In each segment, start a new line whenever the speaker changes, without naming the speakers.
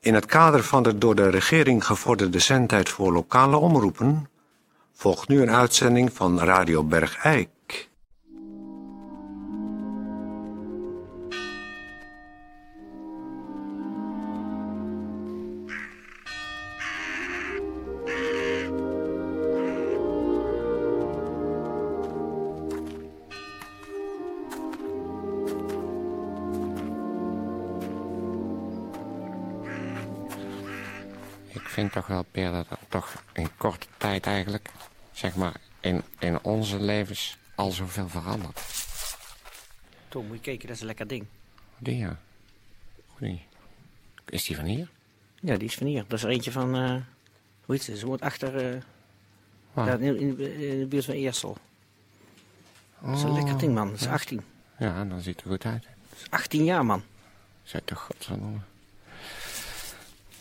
In het kader van de door de regering gevorderde zendtijd voor lokale omroepen volgt nu een uitzending van Radio Bergijk.
Ik vind toch wel, Peer, dat er toch in korte tijd eigenlijk, zeg maar, in, in onze levens al zoveel verandert.
Tom, moet je kijken, dat is een lekker ding.
Die ja. Goeie. Is die van hier?
Ja, die is van hier. Dat is er eentje van, eh, hoe heet ze? Ze woont achter, eh,
Waar?
ja, in, in, in de buurt van Eersel. Dat is een lekker ding, man. Dat is 18.
Ja, dan ziet het er goed uit.
Dat is 18 jaar, man.
Zij toch godverdomme.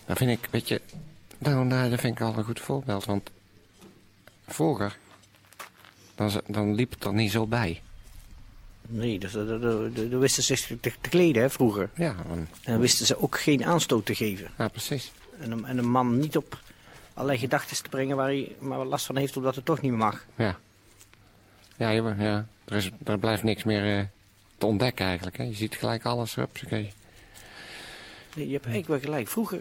Dat vind ik, weet je, daarom, daar- dat vind ik al een goed voorbeeld. Want vroeger, dan, z- dan liep het er niet zo bij.
Nee, dus, dat- dat- dat- dat- dat wisten ze zich te, te kleden, hè, vroeger.
Ja, want-
En dan wisten ze ook geen aanstoot te geven.
ja precies.
En een, en een man niet op allerlei gedachten te brengen waar hij maar wat last van heeft, omdat het toch niet meer mag.
Ja. Ja, je, wordt- ja. Er, is, er blijft niks meer eh, te ontdekken eigenlijk. Hè. Je ziet gelijk alles op.
Nee, je hebt eigenlijk wel gelijk. Vroeger,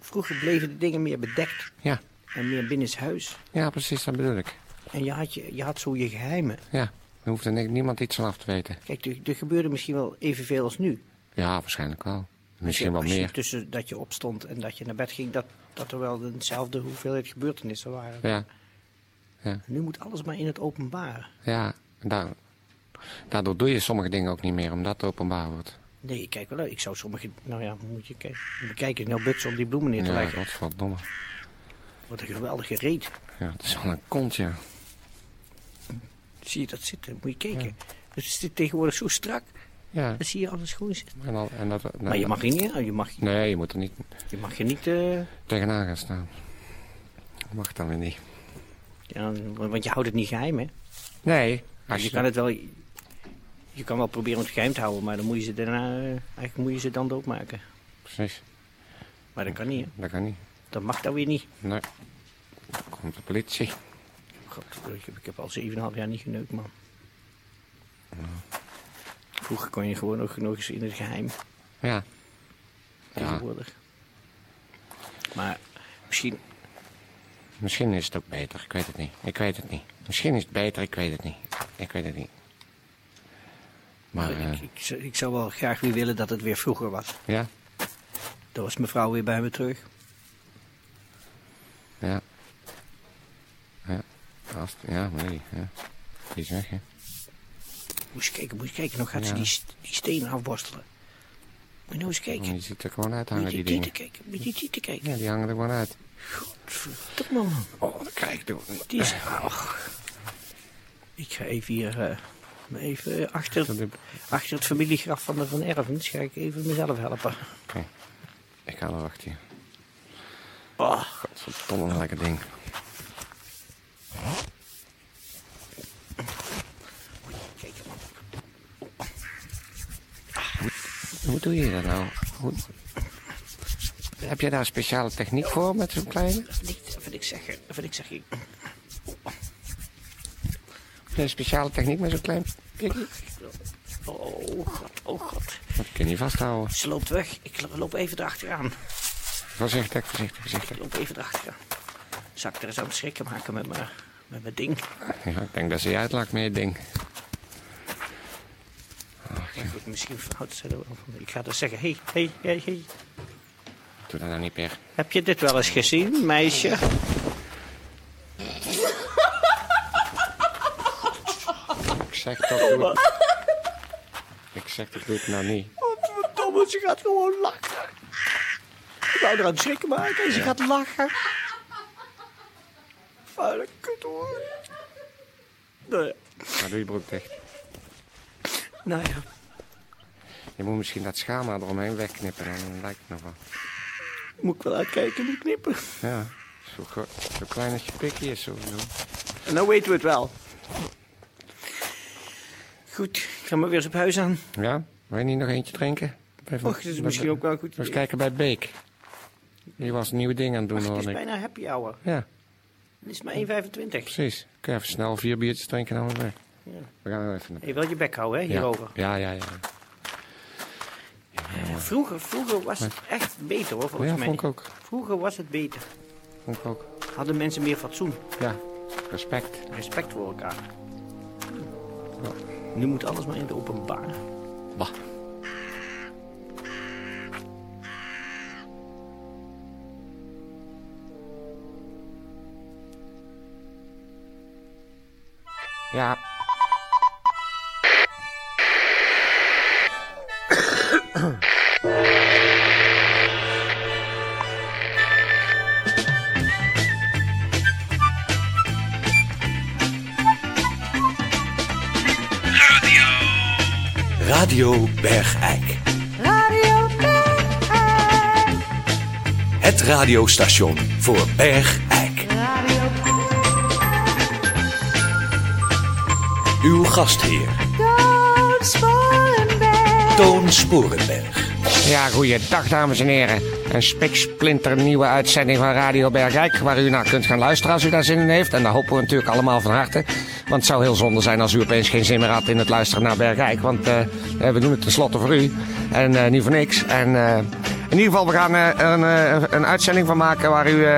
vroeger bleven de dingen meer bedekt
Ja.
en meer binnenshuis.
ja, precies, dat bedoel ik.
En je had, je, je had zo je geheimen.
Ja, daar hoeft er ni- niemand iets van af te weten.
Kijk, er, er gebeurde misschien wel evenveel als nu.
Ja, waarschijnlijk wel. Misschien
Ja,
wel
als je
meer.
Tussen dat je opstond en dat je naar bed ging, dat, dat er wel dezelfde hoeveelheid gebeurtenissen waren.
Ja,
Nu moet alles maar in het openbaar.
ja. Daar, daardoor doe je sommige dingen ook niet meer, omdat het openbaar wordt.
Nee, kijk wel, ik zou sommige. Nou ja, moet je kijken. Bekijken, nou butsen om die bloemen neer te
Ja,
leggen.
godverdomme.
Wat een geweldige reet.
Ja, het is wel een kont, ja.
Zie je dat zitten? Moet je kijken. Dus Het zit tegenwoordig zo strak.
Ja,
Dan zie je alles gewoon zitten.
en, al, en dat... dat-
Maar je mag er niet aan. Je mag,
Nee, je moet er niet
je mag je niet. eh,
tegenaan gaan staan. Dat mag dan weer niet.
ja, want je houdt het niet geheim, hè?
Nee.
Dus je kan het wel. Je kan wel proberen om het geheim te houden, maar dan moet je ze daarna. eh, Eigenlijk moet je ze dan doodmaken.
Precies,
Maar dat kan niet, hè?
dat kan niet.
Dat mag dan weer niet.
Nee. Dan komt de politie.
God, ik heb, ik heb al 7,5 jaar niet geneukt, man. Vroeger kon je gewoon nog, nog eens in het geheim.
Ja.
Tegenwoordig. Maar misschien.
Misschien is het ook beter, ik weet het niet. Ik weet het niet. Misschien is het beter, ik weet het niet. Ik weet het niet. Maar, eh,
Ik, ik, zou- ik zou wel graag weer willen dat het weer vroeger was.
ja,
Daar was mevrouw weer bij me terug.
ja. Ja, als, ja, nee, ja. Die is weg, hè.
Moet je kijken, moet je kijken. Nog gaat ze
Ja.
die, st- die stenen afborstelen. Moet je nou eens kijken.
Maar je ziet er gewoon uit
Moet
hangen,
je die
die
tieten
dingen.
kijken. Moet je die tieten kijken.
Ja, die hangen er gewoon uit.
Verdomme, man.
Oh, dat krijg ik door.
Die is... Eh, Ach. Ik ga even hier... eh, maar even eh, achter,
Dat
het-
heb-
achter het familiegraf van de Van Ervens ga ik even mezelf helpen.
Oké. Ik ga er wachten.
Oh,
Verdomme, een lekker ding.
kijk man.
Hoe doe je dat nou? Hoe... Heb je daar speciale techniek voor met zo'n kleine?
Dat niet, dat wil ik zeggen. Dat wil ik zeggen.
Een speciale techniek met zo'n klein pikkie?
Oh god, oh god.
Dat kun je niet vasthouden.
Ze loopt weg. Ik lo- loop even erachteraan.
Voorzichtig, voorzichtig, voorzichtig.
Ik loop even erachteraan. Zou ik er eens aan het schrikken maken met mijn, met mijn ding?
Ja, ik denk dat ze je uitlaat met je ding.
Goed, misschien verhoudt ze er wel van. Ik ga er zeggen, hey, hey, hey, hey.
Doe dat nou niet meer.
Heb je dit wel eens gezien, meisje?
Ik zeg toch doe het. Ik zeg toch doe het nou niet.
Godverdomme, ze gaat gewoon lachen. Ik wou er aan het schrikken maken en ze gaat lachen. Vuile kut hoor. Nou ja,
Maar doe je broek dicht.
nou ja.
Je moet misschien dat schaam eromheen wegknippen. Dan lijkt het nog wel.
Moet ik wel uitkijken en knippen.
Ja. Zo, gro- zo klein als je pikkie is sowieso.
En nou weten we het wel. Goed, ik ga maar weer eens op huis aan.
Ja? Wil je niet nog eentje drinken? Even,
Och, dat is misschien ook wel een goed
Even
idee.
kijken bij Beek. Je was nieuwe dingen aan het doen,
Ach, het is
hoor ik.
bijna happy hour.
Ja,
Het is maar 1,25.
precies. Kun je even snel vier biertjes drinken en dan weer weg.
Ja.
We gaan er even naar.
Je wil je bek houden, hè, hierover.
Ja, ja, ja. ja.
Vroeger, vroeger was het echt beter, hoor, volgens
Oh Ja,
mij.
vond ik ook.
Vroeger was het beter.
Vond ik ook.
Hadden mensen meer fatsoen,
Ja, respect.
respect voor elkaar. Nu moet alles maar in het openbaar.
Bah. Ja.
Radio Bergijk. Het radiostation voor Bergijk. Uw gastheer Toon Sporenberg.
Ja, goeiedag dames en heren. Een spiksplinter nieuwe uitzending van Radio Bergijk... waar u naar kunt gaan luisteren als u daar zin in heeft. En daar hopen we natuurlijk allemaal van harte. Want het zou heel zonde zijn als u opeens geen zin meer had in het luisteren naar Bergijk. Want eh, eh, we doen het tenslotte voor u. En eh, niet voor niks. En eh, in ieder geval, we gaan eh, er een, eh, een uitzending van maken waar u... eh,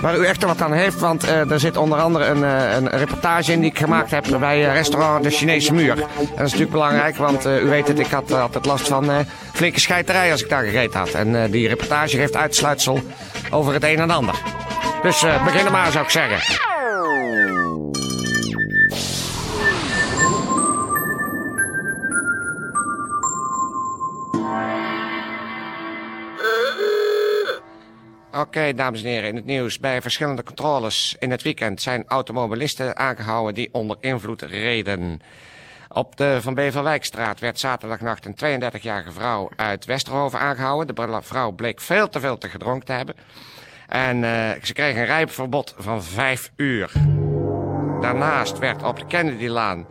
Waar u echt wat aan heeft, want eh, er zit onder andere een, eh, een reportage in die ik gemaakt heb bij eh, restaurant De Chinese Muur. En dat is natuurlijk belangrijk, want eh, u weet het, ik had eh, altijd last van eh, flinke scheiterij als ik daar gegeten had. En eh, die reportage geeft uitsluitsel over het een en ander. Dus eh begin er maar, zou ik zeggen. Oké, dames en heren, in het nieuws. Bij verschillende controles in het weekend zijn automobilisten aangehouden die onder invloed reden. Op de Van Beverwijkstraat werd zaterdagnacht een 32-jarige vrouw uit Westerhoven aangehouden. De bela- vrouw bleek veel te veel te gedronken te hebben. En eh, ze kreeg een rijverbod van vijf uur. Daarnaast werd op de Kennedylaan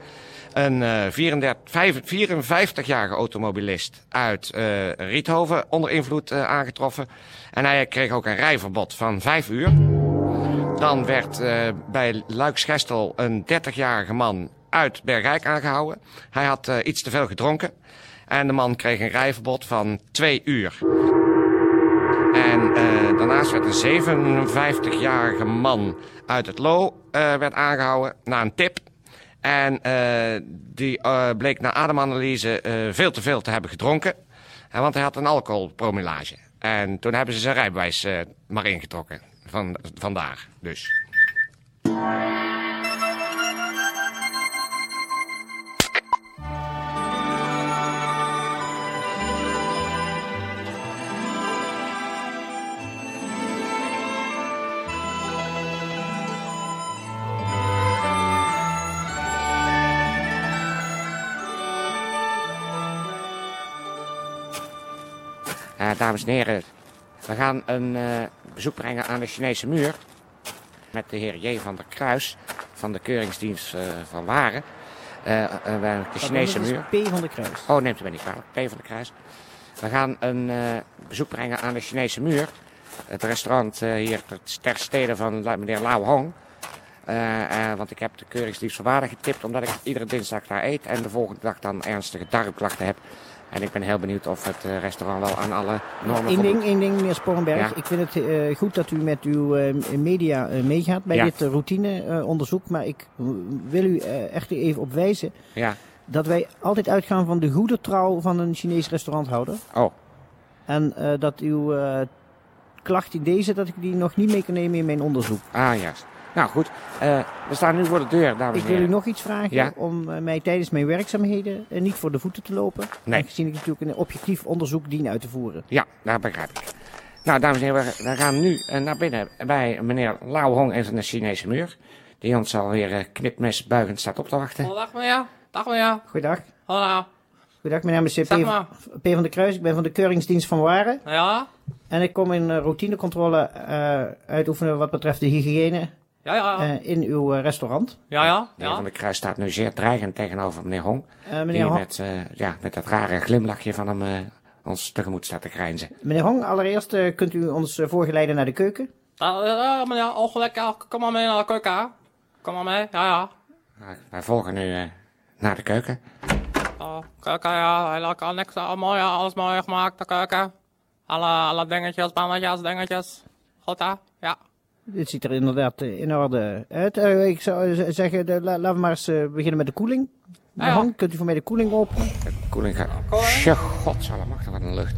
een eh, 34 vijf- 54-jarige automobilist uit eh, Riethoven onder invloed eh, aangetroffen. En hij kreeg ook een rijverbod van vijf uur. Dan werd eh, bij Luiksgestel een 30-jarige man uit Bergijk aangehouden. Hij had eh, iets te veel gedronken. En de man kreeg een rijverbod van twee uur. En eh, daarnaast werd een 57-jarige man uit het Lo eh, werd aangehouden na een tip. En eh, die eh, bleek na ademanalyse eh, veel te veel te hebben gedronken. Eh, want hij had een alcoholpromillage. En toen hebben ze zijn rijbewijs eh, maar ingetrokken. Van, vandaag dus. Eh, dames en heren, we gaan een eh, bezoek brengen aan de Chinese muur. Met de heer J. van der Kruis van de Keuringsdienst eh, van Waren. Eh, eh, bij de Chinese
Dat is
muur.
P van de kruis.
Oh, neemt u mij niet kwalijk. P van de Kruis. We gaan een eh, bezoek brengen aan de Chinese muur. Het restaurant eh, hier ter, ter stede van la- meneer Lau Hong. Eh, eh, want ik heb de keuringsdienst van waarde getipt, omdat ik iedere dinsdag daar eet en de volgende dag dan ernstige darmklachten heb. En ik ben heel benieuwd of het eh, restaurant wel aan alle normen
Eén
voldoet.
ding, één ding, meneer Sporenberg.
Ja.
Ik vind het eh, goed dat u met uw eh, media eh, meegaat bij
Ja.
dit eh, routineonderzoek. maar ik eh, wil u eh, echt even op wijzen
Ja.
dat wij altijd uitgaan van de goede trouw van een Chinees restauranthouder.
Oh,
En eh, dat uw eh, klacht in deze, dat ik die nog niet mee kan nemen in mijn onderzoek.
ah juist. Nou goed, Eh, we staan nu voor de deur, dames
Ik
en
wil u
heren.
nog iets vragen
Ja.
om eh, mij tijdens mijn werkzaamheden eh, niet voor de voeten te lopen.
Nee.
Aangezien ik natuurlijk een objectief onderzoek dien uit te voeren.
Ja, dat begrijp ik. Nou, dames en heren, we- we gaan nu eh, naar binnen bij meneer Lao Hong en zijn Chinese muur. Die ons alweer eh, knipmesbuigend staat op te wachten.
Oh, Dag meneer. Dag meneer.
Goeiedag.
Hallo.
Goedendag, mijn naam is eh, P.
Zeg maar.
P. van der Kruis. Ik ben van de Keuringsdienst van Waren.
Ja?
En ik kom een eh, routinecontrole eh, uitoefenen wat betreft de hygiëne
Ja, ja. Ja,
eh, in uw eh, restaurant.
ja.
De heer Van der Kruis staat nu zeer dreigend tegenover meneer Hong.
Eh, meneer
die
Hong-
met, eh, ja, met dat rare glimlachje van hem eh, ons tegemoet staat te grijnzen.
Meneer Hong, allereerst eh, kunt u ons eh, voorgeleiden naar de keuken?
Ja, ja, meneer, al gelijk, ja, kom maar mee naar de keuken, hè. Kom maar mee, ja, ja.
Maar Wij volgen nu eh, naar de keuken.
Ja, keuken, ja, heel lekker, niks, eh, mooi, ja, alles mooi gemaakt, de keuken. Alle, alle dingetjes, pannetjes, dingetjes. Goed, hè? Ja.
Dit ziet er inderdaad eh, in orde uit. Eh, ik zou eh, zeggen, de, la- laten we maar eens eh, beginnen met de koeling. Meneer
Ah, Ja.
Hong, kunt u voor mij de koeling openen?
De koeling gaat...
Koeling.
Tje, godsallemachtig, wat een lucht.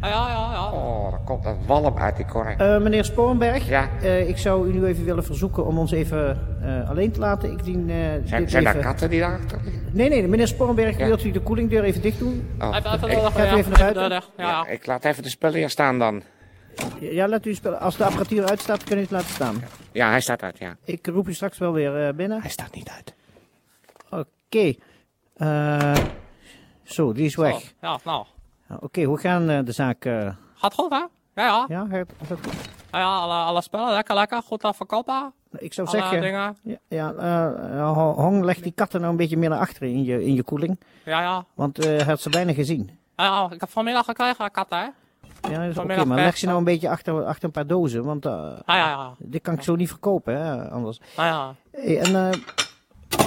Ja, ja, ja, ja.
Oh, er komt een walm uit die korrel.
Eh, meneer Sporenberg,
Ja.
eh, ik zou u nu even willen verzoeken om ons even eh, alleen te laten. Ik dien eh,
Zijn,
dit
zijn daar
even...
katten die daarachter liggen?
Nee, nee, meneer Sporenberg,
Ja.
wilt u de koelingdeur even dicht doen?
Oh,
Even, even,
ik-
door,
Gaat u
ja,
even naar buiten?
door, door, Ja, ja.
Ik laat even de spullen hier staan dan.
Ja, laat u spelen. Als de apparatuur uitstaat, kunnen we het laten staan.
Ja, hij staat uit, ja.
Ik roep u straks wel weer eh, binnen.
Hij staat niet uit.
Oké. Eh, zo, die is weg.
Zo, Ja, nou.
Oké, hoe gaan eh, de zaak? eh,
Gaat goed, hè? Ja, ja.
ja, gaat- gaat-
Ja, ja, alle, alle spullen, lekker, lekker. Goed aan verkopen.
ik zou
Alle
zeggen...
dingen.
Ja, ja eh, Ho- Hong, leg die katten nou een beetje meer naar achteren in je, in je koeling.
Ja, ja.
Want eh, hij had ze bijna gezien.
Ja, ja, ik heb vanmiddag gekregen, kat, hè? Ja,
Ja, dat is oké,
Vanmiddag
maar leg
weg,
ze nou een beetje achter, achter een paar dozen. Want eh,
ja, ja.
dit kan ik zo niet verkopen, hè, anders.
ja, ja.
Hey, en eh,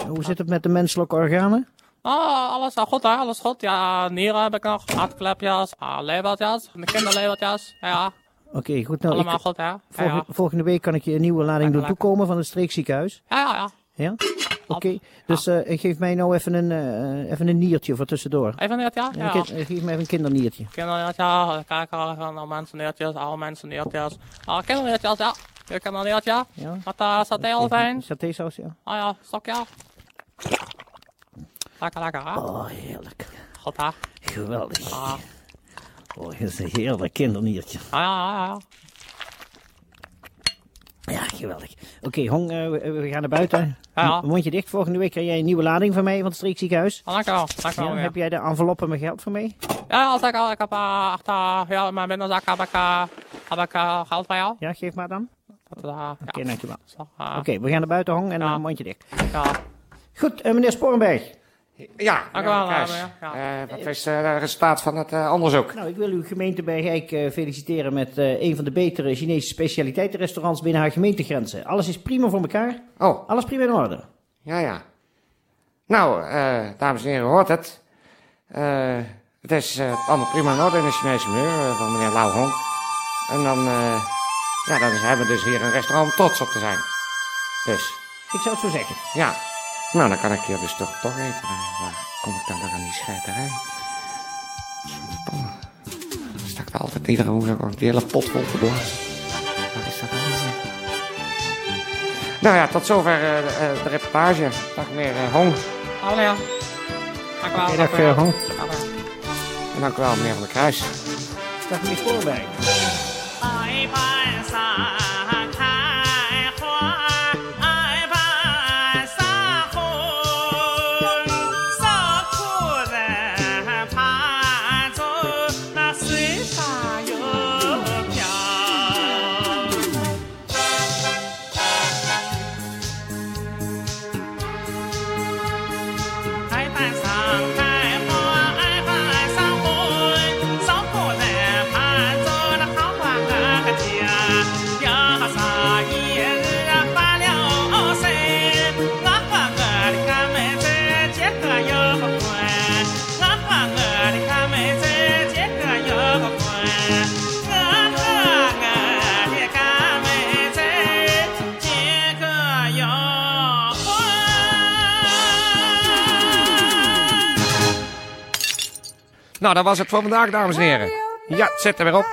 hoe zit het met de menselijke organen?
Ah, alles eh, goed, hè? Alles goed. Ja, nieren heb ik nog. Hartklepjes, ah, levertjes, de kinderlevertjes. Ja, ja.
Oké, goed. Nou, Oh, ik-
Allemaal goed, hè? Ja,
volgende,
ja.
volgende week kan ik je een nieuwe lading doen
Lekker, lekker.
toekomen van het streekziekenhuis.
Ja, ja, ja.
Ja? Oké, dus eh, geef mij nou even een, eh, even een niertje voor tussendoor.
Even net, ja? Ja,
Ja,
ja.
kind- eh, geef mij even een kinderneertje.
Kinderneertjes, ja. Kijk, al van de mensenneertjes, oude mensenneertjes. Ah, kinderneertjes, ja. Hier kinderneertje.
Ja.
Met uh, saté al zijn.
Satésaus, ja.
Ah ja, stokje. Lekker, lekker, hè?
Oh, heerlijk.
Goed, hè?
Geweldig.
Ah,
Oh, dat is een heerlijk kinderniertje.
ja, ja, ja. ja.
Ja, geweldig. Oké, Hong, eh, we, we gaan naar buiten.
Ja, ja.
M- Mondje dicht. Volgende week krijg jij een nieuwe lading van mij van het streekziekenhuis.
Ah, dankjewel, dankjewel.
Ja,
Ja,
heb jij de enveloppen met geld voor mij?
ja als ik, al- ik heb eh, echt, eh, ja, in mijn binnenzak heb ik, eh, heb ik eh, geld bij jou.
Ja, geef maar dan. Oké,
Dat, eh, ja.
dankjewel. Oké,
Zo, eh,
we gaan naar buiten, Hong, en
Ja.
dan mondje dicht.
ja.
Goed, eh, meneer Sporenberg.
Ja,
Dank u wel,
Kaas.
eh, ja.
Eh, wat is eh, het resultaat van het eh, onderzoek?
Nou, ik wil uw gemeente Bergijk eh, feliciteren met eh, een van de betere Chinese specialiteitenrestaurants binnen haar gemeentegrenzen. Alles is prima voor elkaar.
Oh,
Alles prima in orde.
ja, ja. Nou, eh, dames en heren, u hoort het. Eh, het is eh, allemaal prima in orde in de Chinese muur eh, van meneer Lau Hong. En dan, eh, ja, dan is- hebben we dus hier een restaurant om trots op te zijn. Dus,
Ik zou het zo zeggen.
ja. Nou, dan kan ik hier dus toch, toch eten. Eh, Waar kom ik dan weer aan die scheiterij? Verdomme. Stak er altijd iedere woensdag ook die hele pot vol geblazen. Waar is dat dan? Nou ja, tot zover eh, eh, de reportage. Dag meneer eh, Hong.
Hallo, ja. Dankjewel.
Dag, eh, Hong.
Dankjewel.
En dank u wel, meneer van der Kruis.
Dag, meneer Sporenberg.
爱伴撒开花，爱伴撒红，撒苦人盘中那水上游飘。爱伴上开花，爱伴上红，上坡人盘走那好花那个家，要上一日发了身，我和我的哥们子结个又婚，我和我的哥们子结个又婚，我和我的哥们子结个又婚。
Nou, dat was het voor vandaag, dames en heren. Ja, het zit er weer op.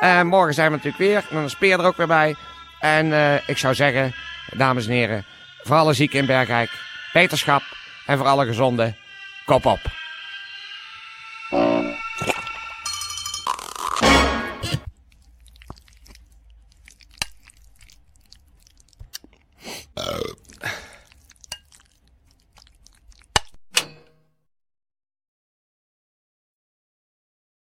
En morgen zijn we natuurlijk weer. En dan is Peer er ook weer bij. En eh, ik zou zeggen, dames en heren, voor alle zieken in Bergijk, beterschap en voor alle gezonden, kop op.